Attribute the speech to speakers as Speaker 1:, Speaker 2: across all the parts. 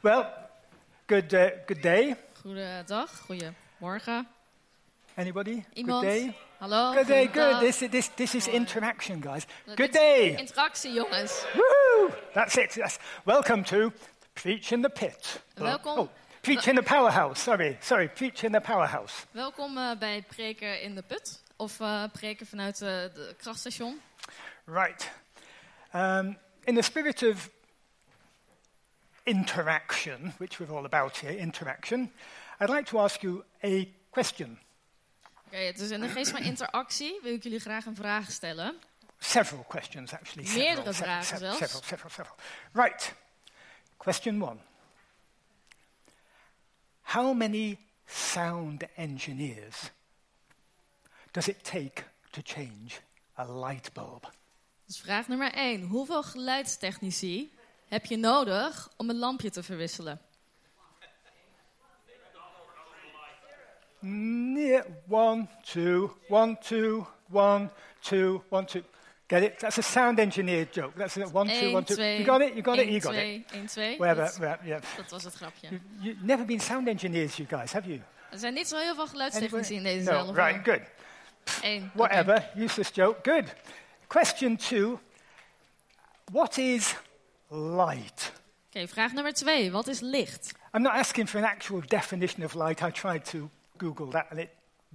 Speaker 1: Well, good uh, good day.
Speaker 2: Goedendag, goedemorgen.
Speaker 1: Anybody?
Speaker 2: Iemand?
Speaker 1: Good day.
Speaker 2: Hallo.
Speaker 1: Good day. Good.
Speaker 2: goedendag.
Speaker 1: This is this this is interaction, guys. Good
Speaker 2: Dit is
Speaker 1: day.
Speaker 2: Interactie, jongens.
Speaker 1: Woohoo! That's it. That's welcome to preach in the pit.
Speaker 2: Welkom.
Speaker 1: Oh, preach in the powerhouse. Sorry, sorry. Preach in the powerhouse.
Speaker 2: Welkom eh, bij Preken in de Put. Of eh, Preken vanuit eh, het krachtstation.
Speaker 1: Right. Um, in the spirit of interaction, which we're all about here, interaction, I'd like to ask you a question.
Speaker 2: Oké, het is in de geest van interactie. Wil ik jullie graag een vraag stellen.
Speaker 1: Several questions, actually. Several,
Speaker 2: Meerdere
Speaker 1: se-
Speaker 2: vragen
Speaker 1: se-
Speaker 2: zelfs.
Speaker 1: Several, several, several. Right. Question one. How many sound engineers does it take to change a light bulb?
Speaker 2: Dus vraag nummer 1. Hoeveel geluidstechnici heb je nodig om een lampje te verwisselen?
Speaker 1: Yeah, one, two, one, two, one, two, one, two. Get it? That's a sound engineer joke. That's a one, two, one, two. You got it? You got it? You got it.
Speaker 2: 1, 2.
Speaker 1: Whatever.
Speaker 2: Dat,
Speaker 1: whatever, Yeah.
Speaker 2: dat was het grapje.
Speaker 1: You, you've never been sound engineers, you guys, have you?
Speaker 2: Er zijn niet zo heel veel geluidstechnici in
Speaker 1: Anybody?
Speaker 2: deze
Speaker 1: No,
Speaker 2: zaal.
Speaker 1: right, good.
Speaker 2: 1.
Speaker 1: Whatever, useless joke, good. Question two What is light?
Speaker 2: Oké, vraag nummer 2. Wat is licht?
Speaker 1: I'm not asking for an actual definition of light. I tried to Google that and it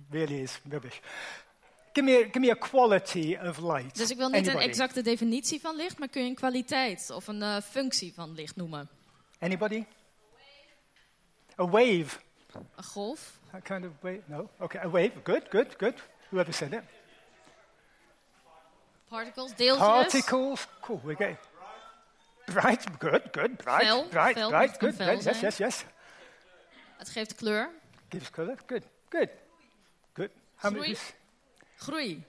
Speaker 1: really is rubbish. Give me a, give me a quality of light.
Speaker 2: Dus ik wil niet
Speaker 1: Anybody?
Speaker 2: een exacte definitie van licht, maar kun je een kwaliteit of een eh, functie van licht noemen?
Speaker 1: Anybody? A wave.
Speaker 2: Een golf?
Speaker 1: That kind of wave? No? Okay, a wave. Good, good, good. Whoever said it.
Speaker 2: Particles, deeltjes?
Speaker 1: Particles. Cool, we're getting. Bright, good, good, bright,
Speaker 2: Fel,
Speaker 1: bright,
Speaker 2: fel,
Speaker 1: bright,
Speaker 2: dat kan
Speaker 1: good,
Speaker 2: fel
Speaker 1: good. Yes,
Speaker 2: zijn.
Speaker 1: yes, yes.
Speaker 2: Het geeft kleur.
Speaker 1: Gives colour. Good, good, good. How many?
Speaker 2: Three.
Speaker 1: is-
Speaker 2: Groei.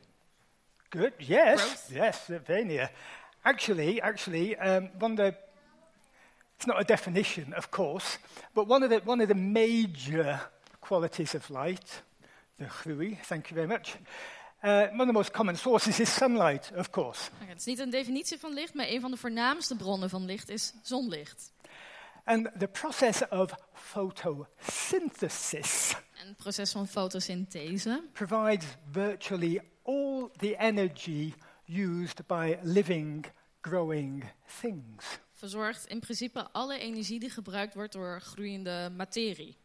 Speaker 1: Good. Yes,
Speaker 2: Growth.
Speaker 1: yes. uh, very near. Actually, actually, um, one of the. It's not a definition, of course, but one of the one of the major qualities of light, the hui. Thank you very much. Uh, one of the most common sources is sunlight, of course.
Speaker 2: Oké, het is niet een definitie van licht, maar een van de voornaamste bronnen van licht is zonlicht.
Speaker 1: And the process of photosynthesis
Speaker 2: En het proces van fotosynthese.
Speaker 1: provides virtually all the energy used by living, growing things.
Speaker 2: Verzorgt in principe alle energie die gebruikt wordt door groeiende materie.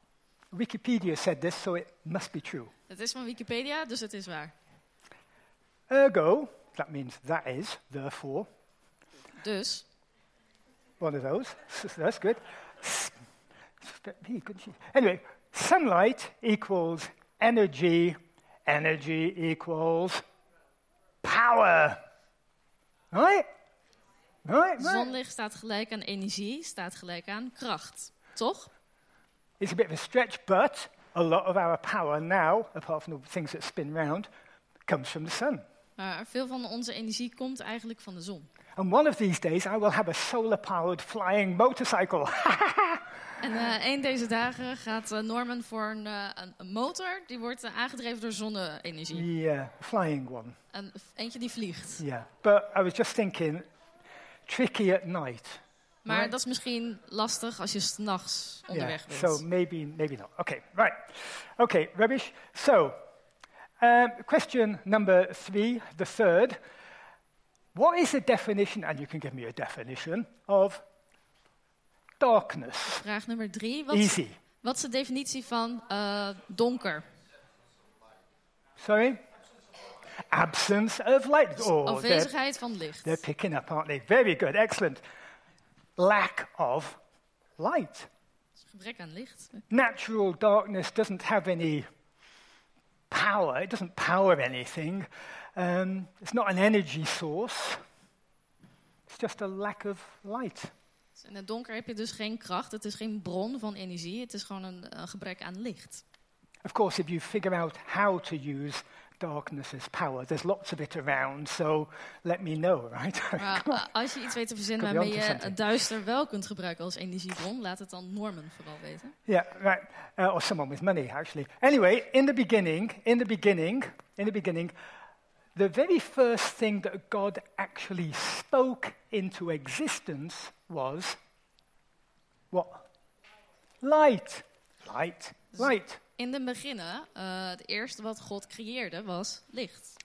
Speaker 1: Wikipedia said this, so it must be true.
Speaker 2: Het is van Wikipedia, dus het is waar.
Speaker 1: Ergo, that means that is, therefore,
Speaker 2: Dus,
Speaker 1: one of those. So That's good. Anyway, sunlight equals energy, energy equals power. Right? Right? right.
Speaker 2: zonlicht staat gelijk aan energie, staat gelijk aan kracht. Toch?
Speaker 1: It's a bit of a stretch, but a lot of our power now, apart from the things that spin round, comes from the sun.
Speaker 2: Maar veel van onze energie komt eigenlijk van de zon.
Speaker 1: And one of these days, I will have a solar powered flying motorcycle.
Speaker 2: En eh een deze dagen gaat eh, Norman voor een, eh, een- een motor. Die wordt eh, aangedreven door zonne-energie.
Speaker 1: yeah, flying one.
Speaker 2: En eentje die vliegt.
Speaker 1: Yeah. But I was just thinking, tricky at night.
Speaker 2: Maar
Speaker 1: Right.
Speaker 2: dat is misschien lastig als je s'nachts onderweg bent.
Speaker 1: So maybe, maybe not. Okay, right. Okay, rubbish. So, um, question number three, the third. What is the definition, and you can give me a definition, of darkness?
Speaker 2: Vraag nummer drie. Wat,
Speaker 1: Easy.
Speaker 2: wat is de definitie van eh, donker?
Speaker 1: Sorry? Absence of light. Oh, they're,
Speaker 2: Afwezigheid van licht.
Speaker 1: they're picking up, aren't they? Very good, excellent. Lack of light.
Speaker 2: Gebrek aan licht.
Speaker 1: natural darkness doesn't have any power, it doesn't power anything. Um, it's not an energy source, it's just a lack of light.
Speaker 2: Dus In het donker heb je dus geen kracht. Het is geen bron van energie. Het is gewoon een, een gebrek aan licht.
Speaker 1: Of course, if you figure out how to use darkness as power, there's lots of it around, so let me know, right?
Speaker 2: Maar eh, als je iets weet te verzinnen
Speaker 1: Could be
Speaker 2: waarmee je
Speaker 1: onto something.
Speaker 2: het duister wel kunt gebruiken als energiebron, laat het dan Norman vooral weten.
Speaker 1: yeah, right. Uh, or someone with money, actually. Anyway, in the beginning, in the beginning, in the beginning, the very first thing that God actually spoke into existence was what? light, light, light.
Speaker 2: In de beginnen, eh, het eerste wat God creëerde was licht.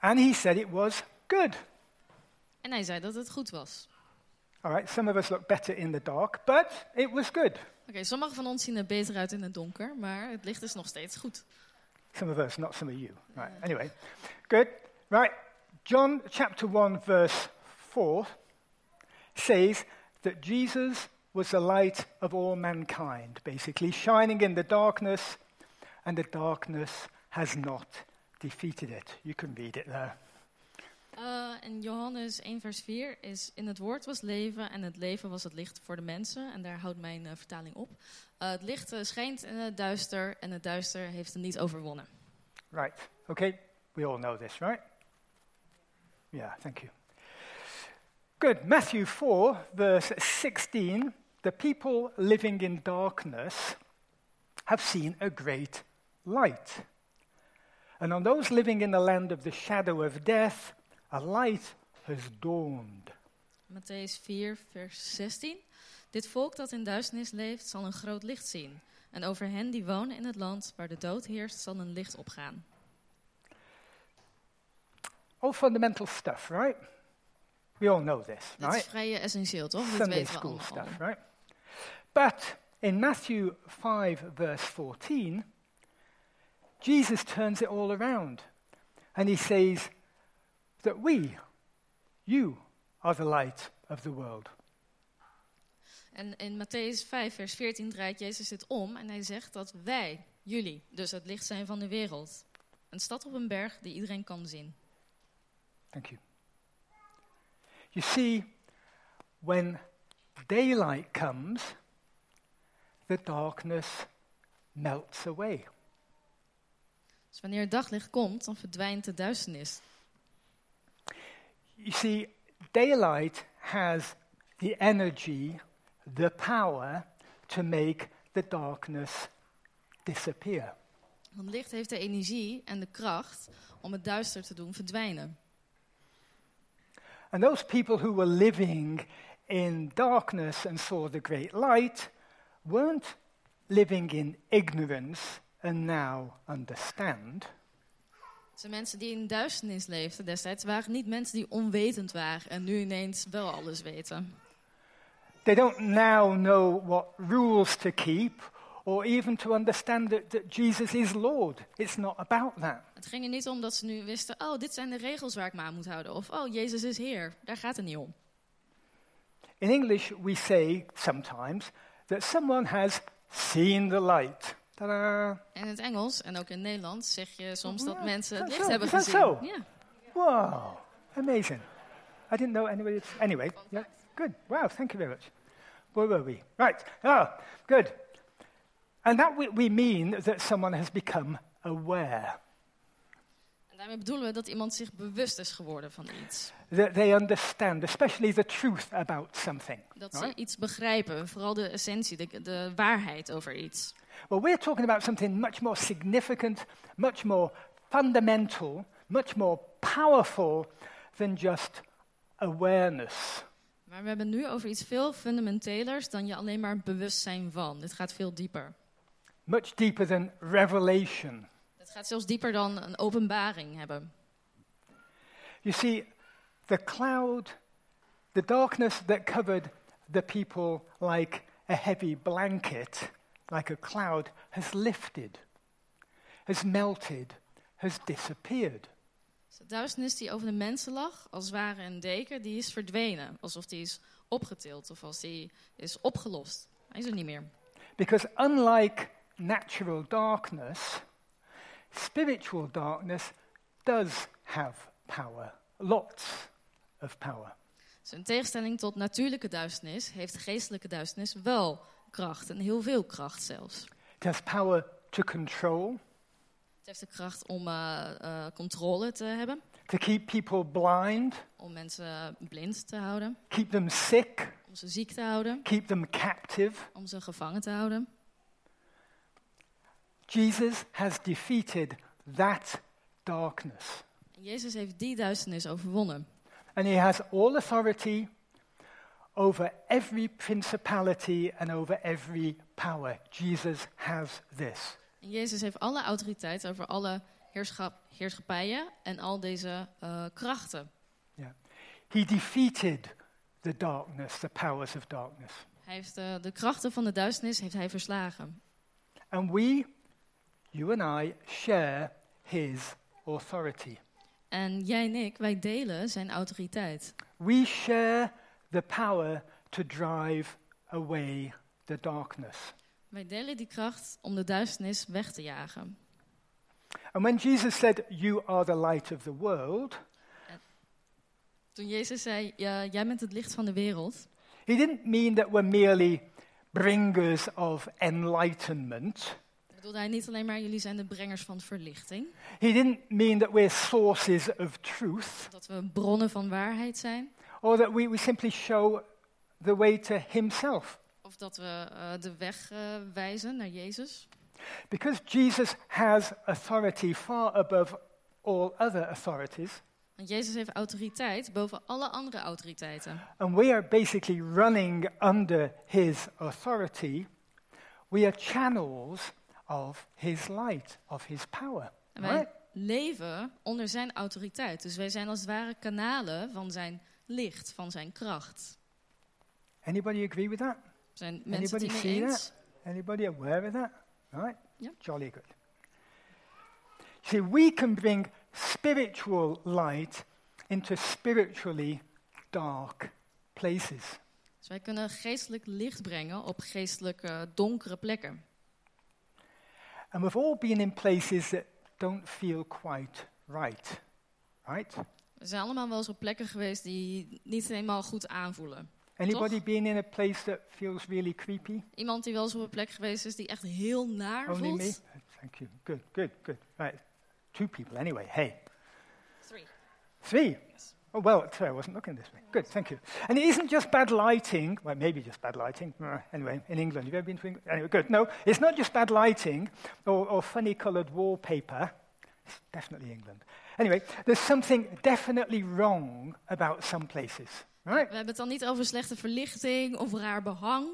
Speaker 1: And he said it was good.
Speaker 2: En hij zei dat het goed was.
Speaker 1: All right, some of us look better in the dark, but it was good.
Speaker 2: Oké, sommigen van ons zien er beter uit in het donker, maar het licht is nog steeds goed.
Speaker 1: Some of us, not some of you. Right, anyway, good. Right, John chapter 1, verse 4 says that Jesus was the light of all mankind, basically, shining in the darkness, and the darkness has not defeated it. You can read it there.
Speaker 2: Eh, en Johannes 1 vers 4 is... In het woord was leven en het leven was het licht voor de mensen. En daar houdt mijn eh, vertaling op. Eh, het licht eh, schijnt in het duister en het duister heeft hem niet overwonnen.
Speaker 1: Right, okay, we all know this, right? Yeah, thank you. Good, Matthew 4, verse 16. The people living in darkness have seen a great light. And on those living in the land of the shadow of death, a light has dawned.
Speaker 2: Matthäus 4, vers 16. Dit volk dat in duisternis leeft, zal een groot licht zien. En over hen die wonen in het land waar de dood heerst, zal een licht opgaan.
Speaker 1: All fundamental stuff, right? We all know this,
Speaker 2: Dit
Speaker 1: right?
Speaker 2: is vrij eh, essentieel, toch? Dit
Speaker 1: Sunday
Speaker 2: weten we
Speaker 1: school
Speaker 2: allemaal.
Speaker 1: stuff, right? But in Matthew 5, verse 14, Jesus turns it all around and he says that we, you, are the light of the world.
Speaker 2: En in Matthäus 5, vers 14 draait Jezus dit om en hij zegt dat wij, jullie, dus het licht zijn van de wereld. Een stad op een berg die iedereen kan zien.
Speaker 1: Thank you. You see, when daylight comes, the darkness melts away.
Speaker 2: Dus wanneer het daglicht komt, dan verdwijnt de duisternis.
Speaker 1: You see, daylight has the energy, the power to make the darkness disappear.
Speaker 2: Want licht heeft de energie en de kracht om het duister te doen verdwijnen.
Speaker 1: And those people who were living in darkness and saw the great light weren't living in ignorance and now understand.
Speaker 2: Dus de mensen die in duisternis leefden destijds waren niet mensen die onwetend waren en nu ineens wel alles weten.
Speaker 1: They don't now know what rules to keep or even to understand that, that Jesus is Lord. It's not about that.
Speaker 2: Het ging er niet om dat ze nu wisten, oh, dit zijn de regels waar ik me aan moet houden. Of, oh, Jezus is Heer. Daar gaat het niet om.
Speaker 1: In English, we say sometimes that someone has seen the light. Ta-da!
Speaker 2: In het Engels en ook in het Nederlands zeg je soms dat
Speaker 1: Ja,
Speaker 2: mensen het
Speaker 1: is dat zo?
Speaker 2: licht hebben
Speaker 1: Is dat
Speaker 2: gezien.
Speaker 1: zo?
Speaker 2: Ja.
Speaker 1: Wow, amazing. I didn't know anybody. Anyway, yeah, good. Wow, thank you very much. Where were we? Right. Ah, good. And that we, we mean that someone has become aware,
Speaker 2: En daarmee bedoelen we dat iemand zich bewust is geworden van iets.
Speaker 1: that they understand, especially the truth about something.
Speaker 2: Dat ze
Speaker 1: Right?
Speaker 2: iets begrijpen, vooral de essentie, de, de waarheid over iets.
Speaker 1: Well, we're talking about something much more significant, much more fundamental, much more powerful than just awareness.
Speaker 2: Maar we hebben nu over iets veel fundamentelers dan je alleen maar bewustzijn van. Dit gaat veel dieper.
Speaker 1: much deeper than revelation.
Speaker 2: Het gaat zelfs dieper dan een openbaring hebben.
Speaker 1: You see, the cloud, the darkness that covered the people like a heavy blanket, like a cloud, has lifted, has melted, has disappeared.
Speaker 2: Dus de duisternis die over de mensen lag, als het ware een deken, die is verdwenen. Alsof die is opgetild of als die is opgelost. Hij is er niet meer.
Speaker 1: Because unlike natural darkness, spiritual darkness does have power, lots of power.
Speaker 2: Dus in tegenstelling tot natuurlijke duisternis heeft geestelijke duisternis wel kracht. En heel veel kracht zelfs.
Speaker 1: It has power to control,
Speaker 2: Het heeft de kracht om eh, eh, controle te hebben.
Speaker 1: to keep people blind,
Speaker 2: Om mensen blind te houden.
Speaker 1: keep them sick,
Speaker 2: Om ze ziek te houden.
Speaker 1: keep them captive.
Speaker 2: Om ze gevangen te houden.
Speaker 1: Jesus has defeated that darkness.
Speaker 2: En Jezus heeft die duisternis overwonnen.
Speaker 1: And he has all authority, over every principality and over every power. Jesus has this.
Speaker 2: En Jezus heeft alle autoriteit over alle heerschap, heerschappijen en al deze eh, krachten.
Speaker 1: He defeated the darkness, the powers of darkness.
Speaker 2: Hij heeft eh, de krachten van de duisternis heeft hij verslagen.
Speaker 1: And we, you and I, share his authority.
Speaker 2: En jij en ik, wij delen zijn autoriteit.
Speaker 1: We share the power to drive away the darkness.
Speaker 2: Wij delen die kracht om de duisternis weg te jagen.
Speaker 1: And when Jesus said, You are the light of the world,
Speaker 2: Toen Jezus zei, "Ja, jij bent het licht van de wereld,
Speaker 1: he didn't mean that we're merely bringers of enlightenment.
Speaker 2: bedoelde hij niet alleen maar jullie zijn de brengers van verlichting.
Speaker 1: He didn't mean that we're sources of truth
Speaker 2: Dat we bronnen van waarheid zijn.
Speaker 1: or that we, we simply show the way to himself.
Speaker 2: Of dat we eh, de weg eh, wijzen naar Jezus.
Speaker 1: Because Jesus has authority far above all other authorities,
Speaker 2: Want Jezus heeft autoriteit boven alle andere autoriteiten.
Speaker 1: and we are basically running under his authority, we are channels of his light, of his power.
Speaker 2: En wij
Speaker 1: Right?
Speaker 2: leven onder zijn autoriteit. Dus wij zijn als het ware kanalen van zijn licht, van zijn kracht.
Speaker 1: Anybody agree with that?
Speaker 2: Zijn mensen het
Speaker 1: Anybody
Speaker 2: hiermee
Speaker 1: see
Speaker 2: eens?
Speaker 1: Anybody aware of that? Right?
Speaker 2: Yeah.
Speaker 1: Jolly good. See, we can bring spiritual light into spiritually dark places.
Speaker 2: Dus wij kunnen geestelijk licht brengen op geestelijk eh, donkere plekken.
Speaker 1: And we've all been in places that don't feel quite right. Right?
Speaker 2: We zijn allemaal wel eens op plekken geweest die niet helemaal goed aanvoelen.
Speaker 1: Anybody been in a place that feels really creepy?
Speaker 2: Iemand die wel eens op een plek geweest is die echt heel naar
Speaker 1: Only me?
Speaker 2: voelt.
Speaker 1: Thank you. Good, good, good. Right. Two people anyway. Hey.
Speaker 2: Three.
Speaker 1: Three.
Speaker 2: Yes.
Speaker 1: Oh, well, sorry, I wasn't looking this way. Good, thank you. And it isn't just bad lighting, well, maybe just bad lighting. Uh, Anyway, in England, have you ever been to England? Anyway, good. No, it's not just bad lighting or, or funny coloured wallpaper. It's definitely England. Anyway, there's something definitely wrong about some places, right?
Speaker 2: We hebben het dan niet over slechte verlichting of raar behang.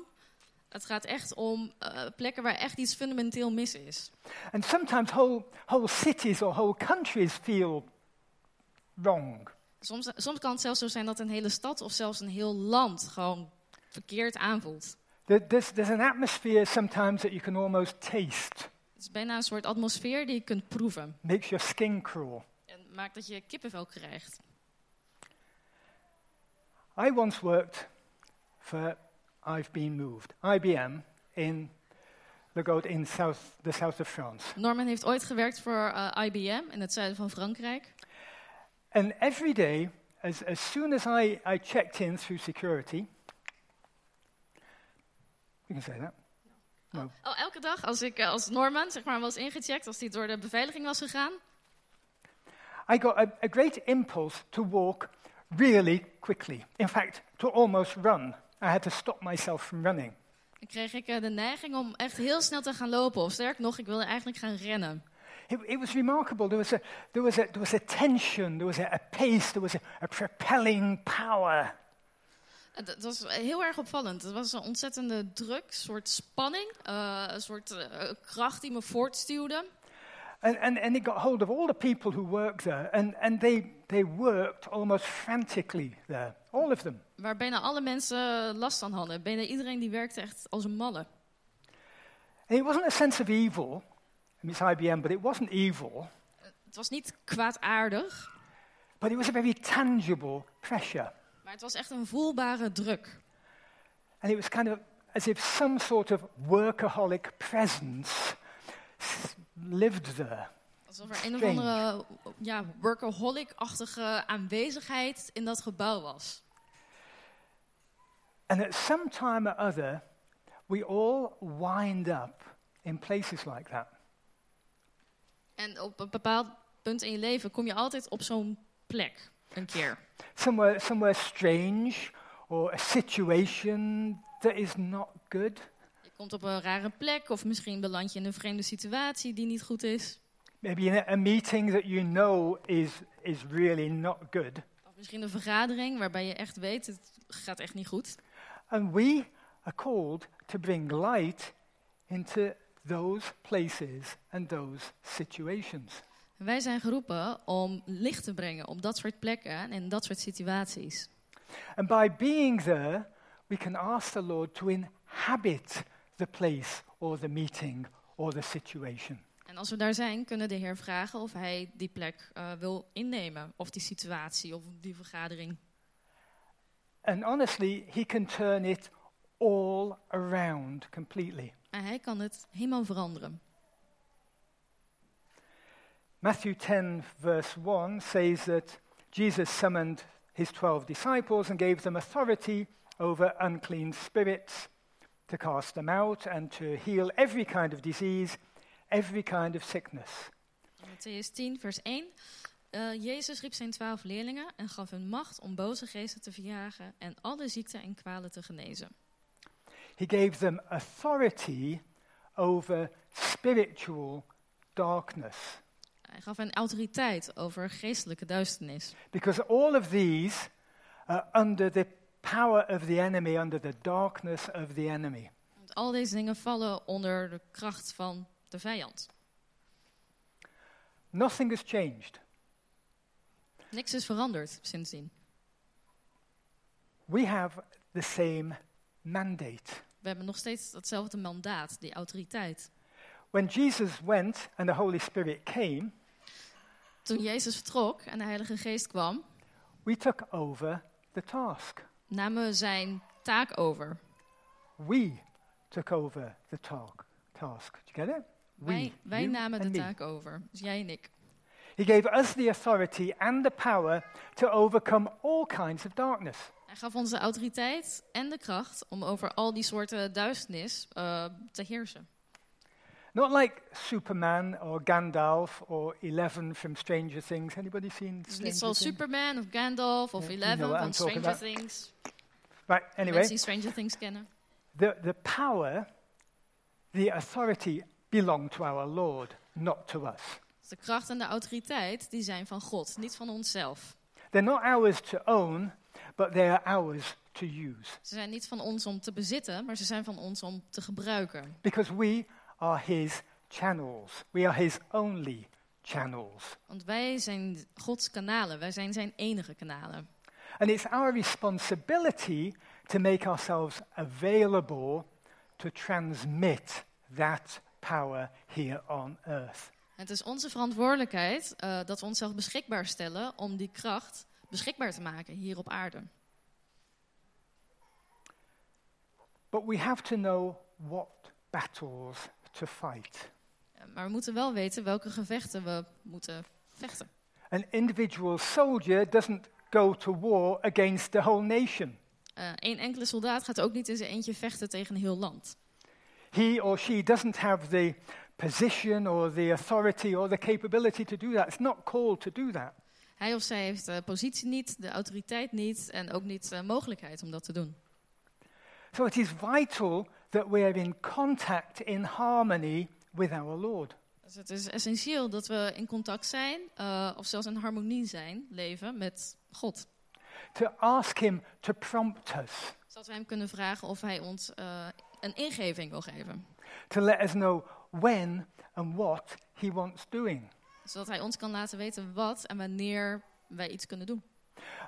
Speaker 2: Het gaat echt om eh, plekken waar echt iets fundamenteel mis is.
Speaker 1: And sometimes whole, whole cities or whole countries feel wrong.
Speaker 2: Soms, soms kan het zelfs zo zijn dat een hele stad of zelfs een heel land gewoon verkeerd aanvoelt.
Speaker 1: There- There's, there's an atmosphere sometimes that you can almost taste,
Speaker 2: Het is bijna een soort atmosfeer die je kunt proeven.
Speaker 1: makes your skin crawl.
Speaker 2: En maakt dat je kippenvel krijgt.
Speaker 1: I once worked for I've Been Moved, IBM, in Le Gaud in south, the south of France.
Speaker 2: Norman heeft ooit gewerkt voor eh, IBM in het zuiden van Frankrijk.
Speaker 1: And every day, as, as soon as I, I checked in through security, you can say that. No.
Speaker 2: Oh, elke dag als ik eh, als Norman zeg maar, was ingecheckt, als hij door de beveiliging was gegaan,
Speaker 1: I got a, a great impulse to walk really quickly. In fact, to almost run. I had to stop myself from running.
Speaker 2: dan kreeg ik eh, de neiging om echt heel snel te gaan lopen. Of sterk nog, ik wilde eigenlijk gaan rennen.
Speaker 1: It, it was remarkable. There was, a, there, was a, there was a tension, there was a, a pace, there was a, a propelling power.
Speaker 2: Eh, Dat was heel erg opvallend. Het was een ontzettende druk, soort spanning, eh, een soort eh, kracht die me voortstuwde.
Speaker 1: And, and, and it got hold of all the people who worked there, and, and they, they worked almost frantically there, all of them.
Speaker 2: Waar bijna alle mensen last van hadden. Bijna iedereen die werkte echt als een malle.
Speaker 1: And it wasn't a sense of evil, I mean, it's IBM, but it wasn't evil,
Speaker 2: Het was niet kwaadaardig,
Speaker 1: but it was a very tangible pressure.
Speaker 2: maar het was echt een voelbare druk.
Speaker 1: And it was kind of as if some sort of workaholic presence s- lived there.
Speaker 2: Alsof er een of
Speaker 1: Strange.
Speaker 2: andere ja, workaholic-achtige aanwezigheid in dat gebouw was.
Speaker 1: And at some time or other, we all wind up in places like that.
Speaker 2: En op een bepaald punt in je leven kom je altijd op zo'n plek, een keer.
Speaker 1: somewhere, somewhere strange or a situation that is not good.
Speaker 2: Je komt op een rare plek of misschien beland je in een vreemde situatie die niet goed is.
Speaker 1: Maybe in a, a meeting that you know is, is really not good.
Speaker 2: Of misschien een vergadering waarbij je echt weet, het gaat echt niet goed.
Speaker 1: And we are called to bring light into those places and those situations.
Speaker 2: Wij zijn geroepen om licht te brengen op dat soort plekken en in dat soort situaties.
Speaker 1: And by being there, we can ask the Lord to inhabit the place or the meeting or the situation.
Speaker 2: En als we daar zijn, kunnen de Heer vragen of hij die plek eh, wil innemen, of die situatie, of die vergadering.
Speaker 1: And honestly, He can turn it all around completely.
Speaker 2: En hij kan het helemaal veranderen.
Speaker 1: Matthew 10, verse 1 says that Jesus summoned his 12 disciples and gave them authority over unclean spirits to cast them out and to heal every kind of disease, every kind of sickness.
Speaker 2: Matthäus 10, vers 1. Eh, Jezus riep zijn twaalf leerlingen en gaf hun macht om boze geesten te verjagen en alle ziekten en kwalen te genezen.
Speaker 1: He gave them authority over spiritual darkness.
Speaker 2: Hij gaf hen autoriteit over geestelijke duisternis.
Speaker 1: Because all of these are under the power of the enemy, under the darkness of the enemy.
Speaker 2: Want al deze dingen vallen onder de kracht van de vijand.
Speaker 1: Nothing has changed.
Speaker 2: Niks is veranderd sindsdien.
Speaker 1: We have the same mandate.
Speaker 2: We hebben nog steeds datzelfde mandaat, die autoriteit.
Speaker 1: When Jesus went and the Holy Spirit came,
Speaker 2: Toen Jezus vertrok en de Heilige Geest kwam,
Speaker 1: we took over the task.
Speaker 2: namen we zijn taak over.
Speaker 1: We took over the talk, task. Do you get it? We,
Speaker 2: wij wij
Speaker 1: you
Speaker 2: namen de
Speaker 1: and me.
Speaker 2: taak over, dus jij en ik.
Speaker 1: He gave us the authority and the power to overcome all kinds of darkness.
Speaker 2: Hij gaf ons de autoriteit en de kracht om over al die soorten duisternis eh, te heersen.
Speaker 1: Not like Superman or Gandalf or Eleven from Stranger Things. Anybody seen
Speaker 2: Dus
Speaker 1: Stranger
Speaker 2: niet zoals
Speaker 1: Things?
Speaker 2: Superman of Gandalf of
Speaker 1: Ja, you know
Speaker 2: Eleven
Speaker 1: what I'm
Speaker 2: van
Speaker 1: talking
Speaker 2: Stranger Things.
Speaker 1: Right,
Speaker 2: Mensen
Speaker 1: anyway,
Speaker 2: die Stranger Things kennen.
Speaker 1: the, the power, the authority belong to our Lord, not to us.
Speaker 2: Dus de kracht en de autoriteit die zijn van God, niet van onszelf.
Speaker 1: They're not ours to own, but they are ours to use
Speaker 2: Ze zijn niet van ons om te bezitten, maar ze zijn van ons om te gebruiken.
Speaker 1: because we are His channels. We are His only channels.
Speaker 2: Want wij zijn Gods kanalen, wij zijn zijn enige kanalen.
Speaker 1: And it's our responsibility to make ourselves available to transmit that power here on earth.
Speaker 2: Het is onze verantwoordelijkheid eh, dat we onszelf beschikbaar stellen om die kracht beschikbaar te maken hier op aarde.
Speaker 1: But we have to know what battles to fight.
Speaker 2: Eh, Maar we moeten wel weten welke gevechten we moeten vechten.
Speaker 1: An individual soldier doesn't go to war against the whole nation.
Speaker 2: Eén Eh, enkele soldaat gaat ook niet in zijn eentje vechten tegen een heel land.
Speaker 1: He or she doesn't have the position or the authority or the capability to do that. It's not called to do that.
Speaker 2: Hij of zij heeft de positie niet, de autoriteit niet en ook niet de mogelijkheid om dat te doen.
Speaker 1: So it is vital that we are in contact, in harmony with our Lord.
Speaker 2: Dus het is essentieel dat we in contact zijn, eh, of zelfs in harmonie zijn, leven met God.
Speaker 1: to ask Him to prompt us,
Speaker 2: Zodat Dus we hem kunnen vragen of hij ons eh, een ingeving wil geven.
Speaker 1: to let us know when and what He wants doing.
Speaker 2: Zodat Dus hij ons kan laten weten wat en wanneer wij iets kunnen doen.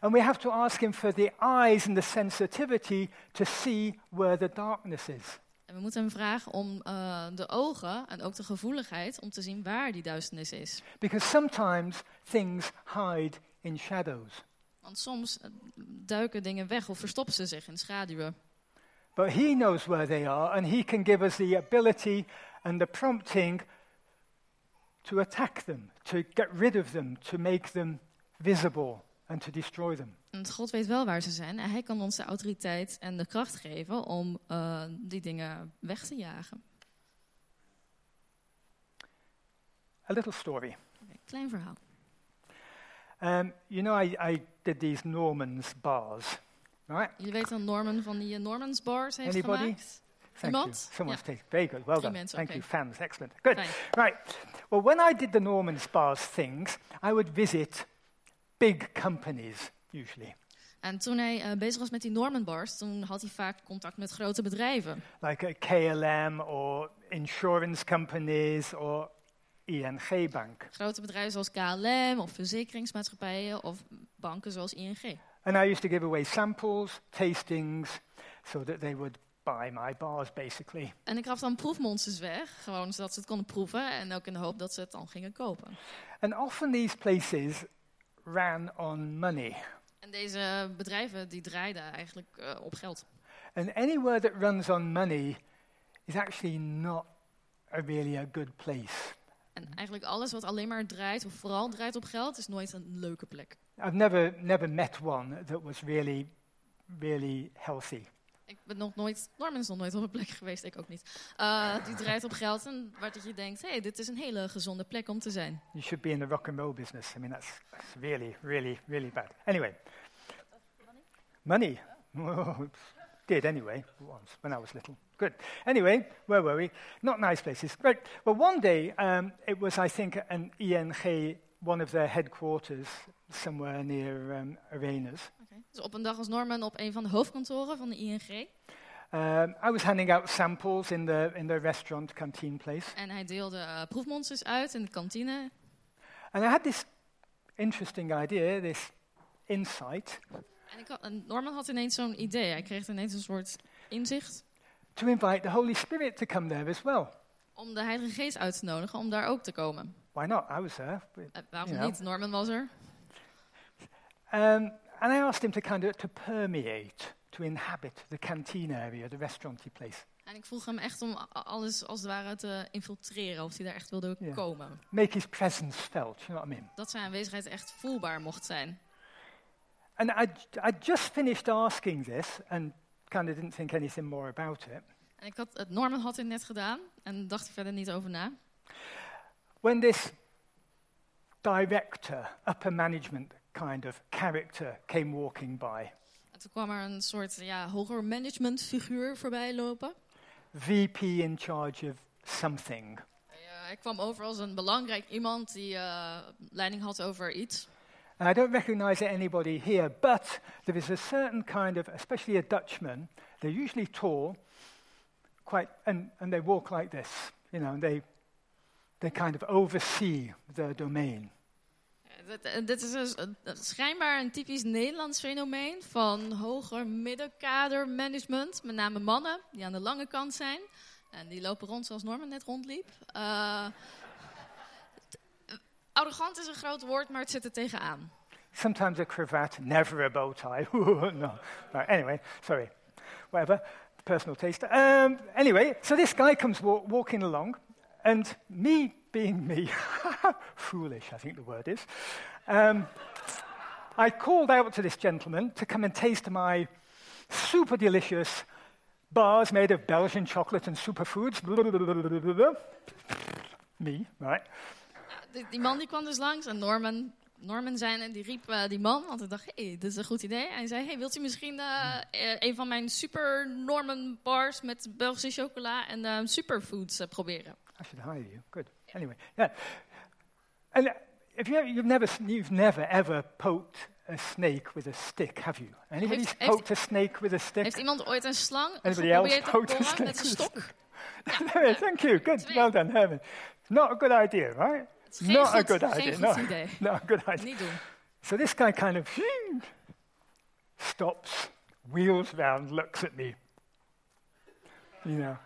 Speaker 1: And we have to ask Him for the eyes and the sensitivity to see where the darkness is.
Speaker 2: En we moeten hem vragen om eh, de ogen en ook de gevoeligheid om te zien waar die duisternis is.
Speaker 1: Because sometimes things hide in shadows.
Speaker 2: Want soms eh, duiken dingen weg of verstoppen ze zich in schaduwen.
Speaker 1: But He knows where they are, and He can give us the ability and the prompting to attack them, to get rid of them, to make them visible, and to destroy them.
Speaker 2: Want God weet wel waar ze zijn en hij kan ons de autoriteit en de kracht geven om eh, die dingen weg te jagen.
Speaker 1: A little story.
Speaker 2: Oké, Klein verhaal.
Speaker 1: Um, you know, I, I did these Norman's bars, right?
Speaker 2: Jullie weten dat Norman van die eh, Norman's Bars heeft
Speaker 1: Anybody?
Speaker 2: gemaakt?
Speaker 1: Thank you.
Speaker 2: Iemand?
Speaker 1: Someone's
Speaker 2: Yeah.
Speaker 1: taken. Very good. Well
Speaker 2: Three
Speaker 1: done.
Speaker 2: minutes,
Speaker 1: Thank
Speaker 2: okay.
Speaker 1: you, fans. Excellent. Good.
Speaker 2: Fijn.
Speaker 1: Right. Well, when I did the Norman's bars things, I would visit big companies usually.
Speaker 2: En toen hij eh, bezig was met die normenbars, toen had hij vaak contact met grote bedrijven.
Speaker 1: like a KLM or insurance companies or ING Bank.
Speaker 2: Grote bedrijven zoals KLM of verzekeringsmaatschappijen of banken zoals ING.
Speaker 1: And I used to give away samples, tastings, so that they would buy my bars basically.
Speaker 2: En ik gaf dan proefmonsters weg, gewoon zodat ze het konden proeven en ook in de hoop dat ze het dan gingen kopen.
Speaker 1: And often these places ran on money.
Speaker 2: En deze bedrijven die draaiden eigenlijk eh, op geld.
Speaker 1: And anywhere that runs on money is actually not a really a good place.
Speaker 2: En eigenlijk alles wat alleen maar draait, of vooral draait op geld, is nooit een leuke plek.
Speaker 1: I've never, never met one that was really, really healthy.
Speaker 2: Ik ben nog nooit, Norman is nog nooit op een plek geweest, ik ook niet. Eh, die draait op geld en waar dat je denkt, hé, hey, dit is een hele gezonde plek om te zijn.
Speaker 1: You should be in the rock and roll business. I mean, that's, that's really, really, really bad. Anyway, money. Did anyway, once when I was little. Good. Anyway, where were we? Not nice places. Right. Well, one day um, it was, I think, an ENG, one of their headquarters somewhere near um, Arenas.
Speaker 2: Dus op een dag was Norman op een van de hoofdkantoren van de ING.
Speaker 1: Um, I was handing out samples in the in the restaurant canteen place,
Speaker 2: En hij deelde eh, proefmonsters uit in de kantine.
Speaker 1: and I had this interesting idea, this insight
Speaker 2: En, ik had, en Norman had ineens zo'n idee. Hij kreeg ineens een soort inzicht
Speaker 1: to invite the Holy Spirit to come there as well.
Speaker 2: om de Heilige Geest uit te nodigen om daar ook te komen.
Speaker 1: Why not? I was there.
Speaker 2: Eh, waarom
Speaker 1: Ja.
Speaker 2: niet? Norman was er.
Speaker 1: Um, and I asked him to kind of to permeate, to inhabit the canteen area, the restauranty place,
Speaker 2: En ik vroeg hem echt om a- alles als het ware te infiltreren, of hij daar echt wilde
Speaker 1: Ja.
Speaker 2: komen.
Speaker 1: make his presence felt. You know what I mean?
Speaker 2: Dat zijn aanwezigheid echt voelbaar mocht zijn.
Speaker 1: And I I just finished asking this and kind of didn't think anything more about it
Speaker 2: En ik had, het Norman had dit net gedaan en dacht er verder niet over na.
Speaker 1: when this director, upper management kind of character came walking by,
Speaker 2: En toen kwam er een soort ja, hoger managementfiguur voorbij lopen.
Speaker 1: VP in charge of something.
Speaker 2: Hij, eh, hij kwam over als een belangrijk iemand die eh, leiding had over iets.
Speaker 1: And I don't recognize anybody here, but there is a certain kind of, especially a Dutchman, they're usually tall, quite, and, and they walk like this, you know, and they, they kind of oversee their domain.
Speaker 2: Eh, dit- eh, Dit is dus een- een- schijnbaar een typisch Nederlands fenomeen van hoger middenkader management. Met name mannen die aan de lange kant zijn. En die lopen rond zoals Norman net rondliep. Eh, t- eh, arrogant is een groot woord, maar het zit er tegenaan.
Speaker 1: Sometimes a cravat, never a bow tie. no. Right, anyway, sorry. Whatever. Personal taste. Um, anyway, so this guy comes wa- walking along, and me being me, foolish, I think the word is, um, I called out to this gentleman to come and taste my super delicious bars made of Belgian chocolate and superfoods. me, right?
Speaker 2: Die, die man die kwam dus langs en Norman, Norman zijn en die riep eh, die man, want ik dacht, hé, hey, dit is een goed idee. En hij zei, hey, wilt u misschien eh, eh, een van mijn super Norman bars met Belgische chocola en eh, superfoods eh, proberen?
Speaker 1: I should hire you. Good. Anyway, yeah. And uh, if you, you've never, s- you've never ever poked a snake with a stick, have you? Anybody
Speaker 2: Heeft- heeft-
Speaker 1: poked a snake with a stick?
Speaker 2: Heeft iemand ooit een slang
Speaker 1: Anybody
Speaker 2: geprobeerd
Speaker 1: else
Speaker 2: te
Speaker 1: poked a
Speaker 2: boren
Speaker 1: snake
Speaker 2: met een
Speaker 1: with a
Speaker 2: stok?
Speaker 1: There, Thank you. Good.
Speaker 2: Twee.
Speaker 1: Well done, Herman. Not a good idea, right?
Speaker 2: Het is geen
Speaker 1: Not a
Speaker 2: goed,
Speaker 1: good
Speaker 2: geen
Speaker 1: idea,
Speaker 2: goed
Speaker 1: no.
Speaker 2: idee.
Speaker 1: Not a good idea.
Speaker 2: Niet doen.
Speaker 1: So this guy kind of stops, wheels round, looks at me. You know.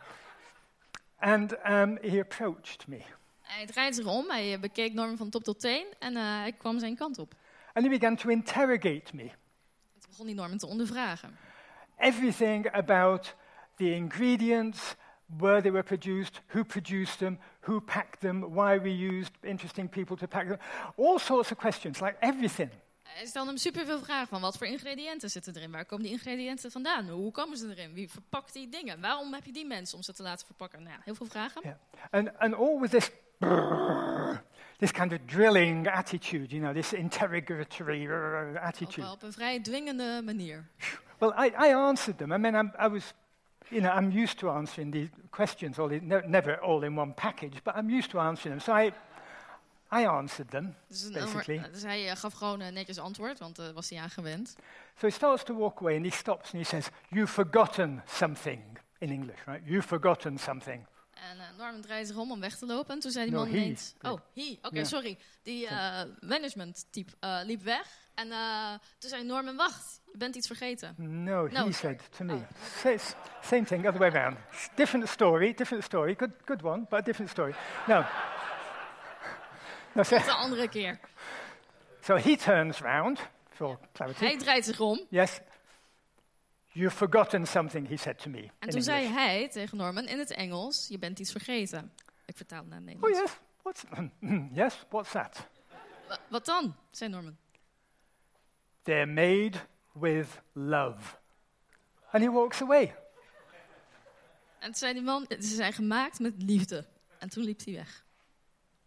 Speaker 1: And um, he approached me.
Speaker 2: Hij draaide zich om, hij eh, bekeek Norman van top tot teen en eh, hij kwam zijn kant op.
Speaker 1: And he began to interrogate me.
Speaker 2: En Toen begon hij Norman te ondervragen.
Speaker 1: everything about the ingredients, where they were produced, who produced them, who packed them, why we used interesting people to pack them, all sorts of questions, like everything.
Speaker 2: Hij stelde hem superveel vragen van wat voor ingrediënten zitten erin, waar komen die ingrediënten vandaan, hoe komen ze erin, wie verpakt die dingen, waarom heb je die mensen om ze te laten verpakken? Nou ja, heel veel vragen.
Speaker 1: Yeah. And, and all with this, this kind of drilling attitude, you know, this interrogatory
Speaker 2: Ook
Speaker 1: attitude.
Speaker 2: wel op een vrij dwingende manier.
Speaker 1: Well, I, I answered them. I mean, I'm, I was, you know, I'm used to answering these questions, all in, ne- never all in one package, but I'm used to answering them. So I, I answered them.
Speaker 2: Dus, een ander-
Speaker 1: Basically.
Speaker 2: dus hij eh, gaf gewoon eh, netjes antwoord, want daar was hij aan gewend.
Speaker 1: So he starts to walk away and he stops and he says, You've forgotten something. In English, right? You've forgotten something.
Speaker 2: En eh, Norman draait zich om om weg te lopen. En toen zei die
Speaker 1: No,
Speaker 2: man
Speaker 1: he.
Speaker 2: ineens... Oh, he. Oké,
Speaker 1: Ja.
Speaker 2: sorry. Die eh management-type eh, liep weg. En eh, toen zei Norman, wacht. Je bent iets vergeten.
Speaker 1: No,
Speaker 2: No,
Speaker 1: he
Speaker 2: sorry.
Speaker 1: said to me.
Speaker 2: Oh.
Speaker 1: Sa- s- Same thing, other way around. Different story, different story. Good, good one, but a different story. No. no so,
Speaker 2: De andere keer.
Speaker 1: so he turns round for clarity.
Speaker 2: Hij draait zich om.
Speaker 1: Yes. You've forgotten something, he said to me.
Speaker 2: En
Speaker 1: in
Speaker 2: toen zei
Speaker 1: English.
Speaker 2: hij tegen Norman in het Engels... Je bent iets vergeten. Ik vertaal het naar het
Speaker 1: Oh,
Speaker 2: Nederlands.
Speaker 1: yes. What's, yes, what's that?
Speaker 2: "Wa- Wat dan? zei Norman.
Speaker 1: They're made with love. And he walks away.
Speaker 2: En toen zei die man... Ze zijn gemaakt met liefde. En toen liep hij weg.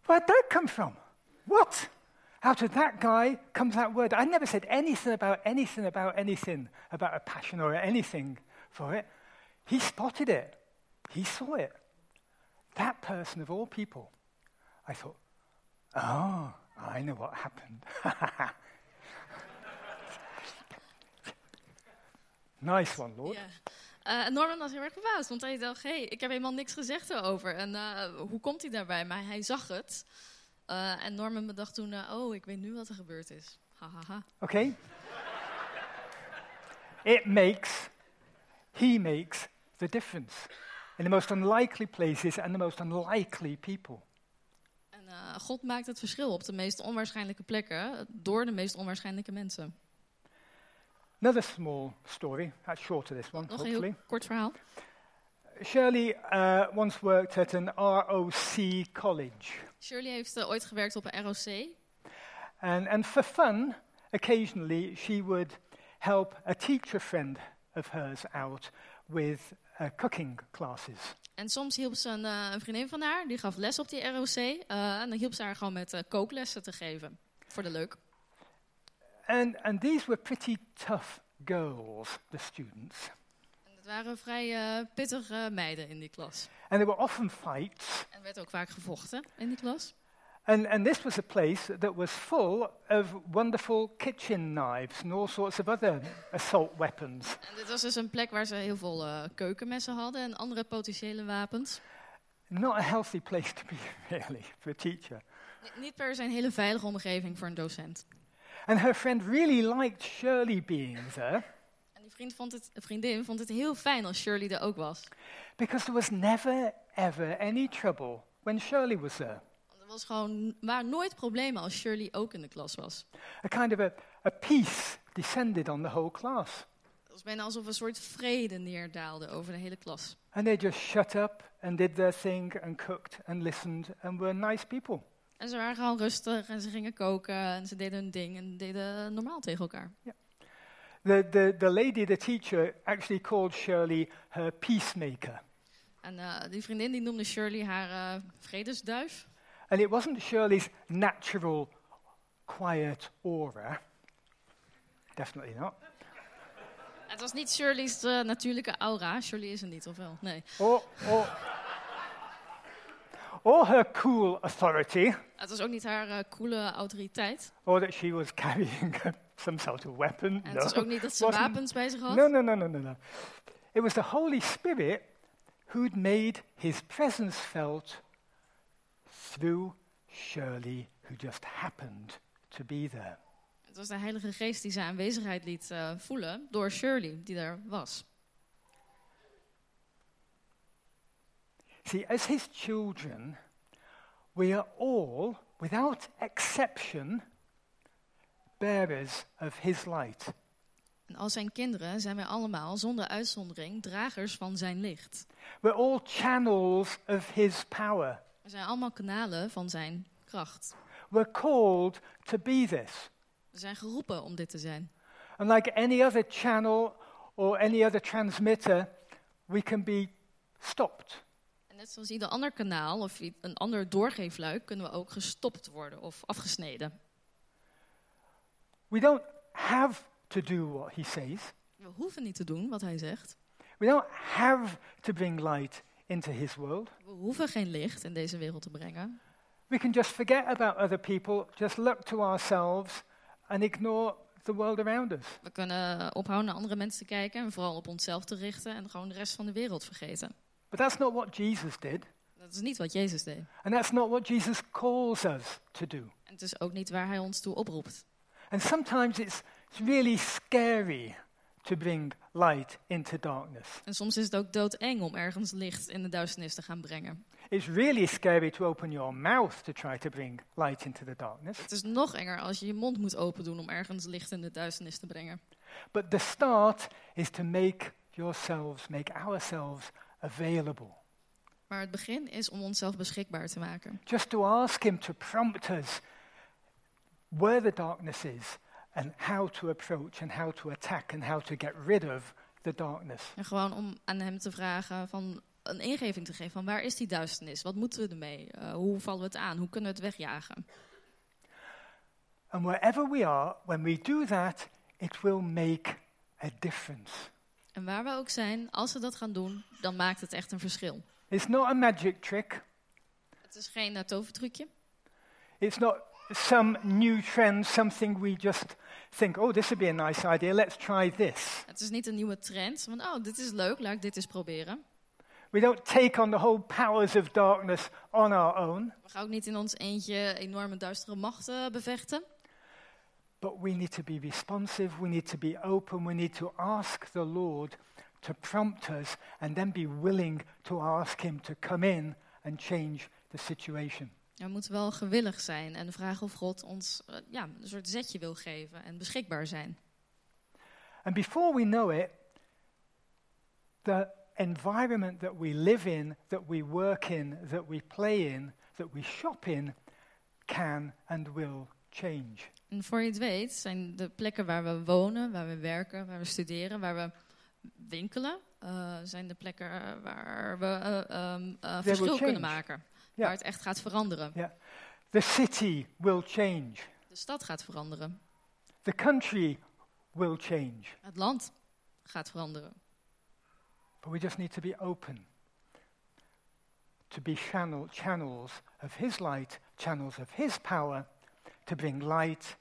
Speaker 1: Where'd that come from? What? Out of that guy comes that word. I never said anything about anything about anything, about a passion or anything for it. He spotted it. He saw it. That person of all people. I thought, oh, I know what happened. nice one, Lord.
Speaker 2: Ja. Eh, en Norman was heel erg verbaasd, want hij dacht, hey, ik heb helemaal niks gezegd erover. En eh, hoe komt hij daarbij? Maar hij zag het. Eh, en Norman bedacht toen, eh, oh, ik weet nu wat er gebeurd is. Hahaha.
Speaker 1: Okay? it makes, he makes the difference in the most unlikely places and the most unlikely people.
Speaker 2: En eh, God maakt het verschil op de meest onwaarschijnlijke plekken, eh, door de meest onwaarschijnlijke mensen.
Speaker 1: Another small story, that's shorter this one,
Speaker 2: Nog een
Speaker 1: hopefully.
Speaker 2: heel kort verhaal.
Speaker 1: Shirley uh, once worked at an ROC college.
Speaker 2: Shirley heeft eh, ooit gewerkt op een ROC.
Speaker 1: And, and for fun, occasionally she would help a teacher friend of hers out with uh, cooking classes.
Speaker 2: En soms hielp ze een, eh, een vriendin van haar, die gaf les op die ROC. eh, en dan hielp ze haar gewoon met eh, kooklessen te geven. Voor de leuk.
Speaker 1: And, and these were pretty tough girls, the students.
Speaker 2: En dat waren vrij eh, pittige meiden in die klas.
Speaker 1: And there were often fights.
Speaker 2: Er werd ook vaak gevochten in die klas.
Speaker 1: And, and this was a place that was full of wonderful kitchen knives and all sorts of other assault weapons.
Speaker 2: En dit was dus een plek waar ze heel veel eh, keukenmessen hadden en andere potentiële wapens.
Speaker 1: Not a healthy place to be, really, for a teacher.
Speaker 2: Ni- niet per se een hele veilige omgeving voor een docent.
Speaker 1: And her friend really liked Shirley being there
Speaker 2: En die vriend vond het, vriendin vond het heel fijn als Shirley er ook was.
Speaker 1: because there was never, ever any trouble when Shirley was there.
Speaker 2: Want er was gewoon, waren nooit problemen als Shirley ook in de klas was.
Speaker 1: A kind of a, a peace descended on the whole class.
Speaker 2: Het was bijna alsof een soort vrede neerdaalde over de hele klas.
Speaker 1: And they just shut up and did their thing and cooked and listened and were nice people.
Speaker 2: En ze waren gewoon rustig en ze gingen koken en ze deden hun ding en deden normaal tegen elkaar.
Speaker 1: The, the, the lady, the teacher, actually called Shirley her peacemaker.
Speaker 2: En eh, die vriendin die noemde Shirley haar eh, vredesduif.
Speaker 1: And it wasn't Shirley's natural quiet aura. Definitely not.
Speaker 2: Het was niet Shirley's eh, natuurlijke aura. Shirley is er niet, of wel? Nee.
Speaker 1: Or, or, or her cool authority,
Speaker 2: Het was ook niet haar eh, coole autoriteit.
Speaker 1: or that she was carrying some sort of weapon.
Speaker 2: En
Speaker 1: no.
Speaker 2: het was ook niet dat ze
Speaker 1: Wasn't-
Speaker 2: wapens bij zich had.
Speaker 1: no, no, no, no, no, no. It was the Holy Spirit who'd made his presence felt through Shirley, who just happened to be there.
Speaker 2: Het was de Heilige Geest die zijn aanwezigheid liet eh, voelen door Shirley, die daar was.
Speaker 1: See, as his children, we are all, without exception, bearers of his light.
Speaker 2: En als zijn kinderen zijn wij allemaal, zonder uitzondering, dragers van zijn licht.
Speaker 1: We're all channels of his power.
Speaker 2: We zijn allemaal kanalen van zijn kracht.
Speaker 1: We're called to be this.
Speaker 2: We zijn geroepen om dit te zijn.
Speaker 1: And like any other channel or any other transmitter, we can be stopped.
Speaker 2: En net zoals ieder ander kanaal of i- een ander doorgeefluik kunnen we ook gestopt worden of afgesneden.
Speaker 1: We don't have to do what he says,
Speaker 2: We hoeven niet te doen wat hij zegt.
Speaker 1: we don't have to bring light into his world.
Speaker 2: We hoeven geen licht in deze wereld te brengen.
Speaker 1: we can just forget about other people, just look to ourselves, and ignore the world around us.
Speaker 2: We kunnen ophouden naar andere mensen te kijken en vooral op onszelf te richten en gewoon de rest van de wereld vergeten.
Speaker 1: But that's not what Jesus did,
Speaker 2: Dat is niet wat Jezus deed.
Speaker 1: and that's not what Jesus calls us to do.
Speaker 2: En het is ook niet waar hij ons toe oproept.
Speaker 1: And sometimes it's, it's really scary to bring light into darkness.
Speaker 2: En soms is het ook doodeng om ergens licht in de duisternis te gaan brengen.
Speaker 1: It's really scary to open your mouth to try to bring light into the darkness.
Speaker 2: Het is nog enger als je je mond moet open doen om ergens licht in de duisternis te brengen.
Speaker 1: But the start is to make yourselves, make ourselves available.
Speaker 2: Maar het begin is om onszelf beschikbaar te maken.
Speaker 1: Just to ask Him to prompt us where the darkness is and how to approach and how to attack and how to get rid of the darkness.
Speaker 2: En gewoon om aan hem te vragen van een ingeving te geven van waar is die duisternis? Wat moeten we ermee? Eh, hoe vallen we het aan? Hoe kunnen we het wegjagen?
Speaker 1: And wherever we are, when we do that, it will make a difference.
Speaker 2: En waar we ook zijn, als we dat gaan doen, dan maakt het echt een verschil.
Speaker 1: It's not a magic trick,
Speaker 2: Het is geen eh, tovertrucje.
Speaker 1: it's not some new trend, something we just think, oh, this would be a nice idea, let's try this.
Speaker 2: Het is niet een nieuwe trend van oh, dit is leuk, laat ik dit eens proberen.
Speaker 1: We don't take on the whole powers of darkness on our own,
Speaker 2: We gaan ook niet in ons eentje enorme duistere machten bevechten.
Speaker 1: but we need to be responsive, we need to be open, we need to ask the Lord to prompt us and then be willing to ask Him to come in and change the situation.
Speaker 2: We moeten wel gewillig zijn en vragen of God ons eh, ja, een soort zetje wil geven en beschikbaar zijn.
Speaker 1: And before we know it, the environment that we live in, that we work in, that we play in, that we shop in can and will change.
Speaker 2: En voor je het weet zijn de plekken waar we wonen, waar we werken, waar we studeren, waar we winkelen, eh, zijn de plekken eh, waar we eh, ehm, eh, verschil
Speaker 1: change.
Speaker 2: kunnen maken.
Speaker 1: Ja.
Speaker 2: Waar het echt gaat veranderen.
Speaker 1: The city will change.
Speaker 2: De stad gaat veranderen.
Speaker 1: The country will change,
Speaker 2: Het land gaat veranderen.
Speaker 1: but we just need to be open to be channel, channels of His light, channels of His power to bring light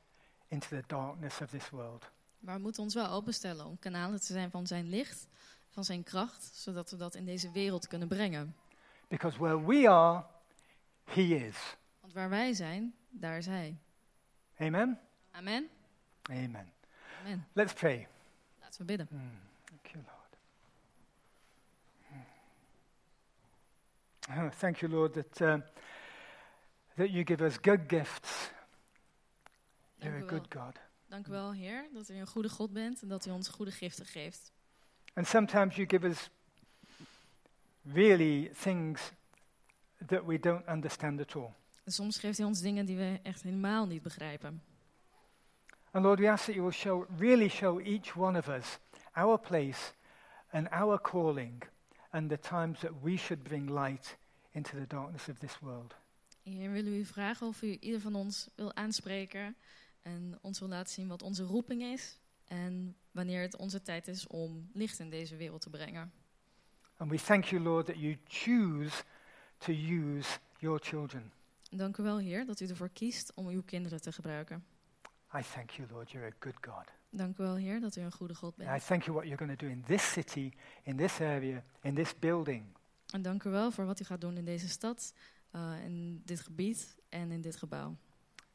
Speaker 1: into the darkness of this world.
Speaker 2: Maar we moeten ons wel openstellen om kanalen te zijn van zijn licht, van zijn kracht, zodat we dat in deze wereld kunnen brengen.
Speaker 1: Because where we are, He is.
Speaker 2: Want waar wij zijn, daar is hij.
Speaker 1: Amen?
Speaker 2: Amen.
Speaker 1: Amen.
Speaker 2: Amen.
Speaker 1: Let's pray.
Speaker 2: Laten we bidden.
Speaker 1: Mm, Thank you, Lord. Oh, Thank you, Lord, that, um, that you give us good gifts. You're a
Speaker 2: Dank u, wel.
Speaker 1: good God.
Speaker 2: Dank u wel, Heer, dat u een goede God bent en dat u ons goede giften geeft.
Speaker 1: And sometimes you give us really things that we don't understand at all.
Speaker 2: En soms geeft u ons dingen die we echt helemaal niet begrijpen.
Speaker 1: And Lord, we ask that you will show, really show each one of us our place and our calling and the times that we should bring light into the darkness of this world.
Speaker 2: Heer, willen we u vragen of u ieder van ons wil aanspreken en ons wil laten zien wat onze roeping is en wanneer het onze tijd is om licht in deze wereld te brengen.
Speaker 1: And we thank you, Lord, that you choose to use your children.
Speaker 2: Dank u wel, Heer, dat u ervoor kiest om uw kinderen te gebruiken.
Speaker 1: I thank you, Lord, you're a good God.
Speaker 2: Dank u wel, Heer, dat u een goede God
Speaker 1: And I
Speaker 2: bent.
Speaker 1: thank you what you're going to do in this city, in this area, in this building.
Speaker 2: En dank u wel voor wat u gaat doen in deze stad, eh, in dit gebied en in dit gebouw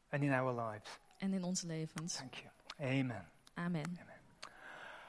Speaker 1: And in our lives.
Speaker 2: en in onze levens.
Speaker 1: Thank you. Amen.
Speaker 2: Amen.
Speaker 1: Amen.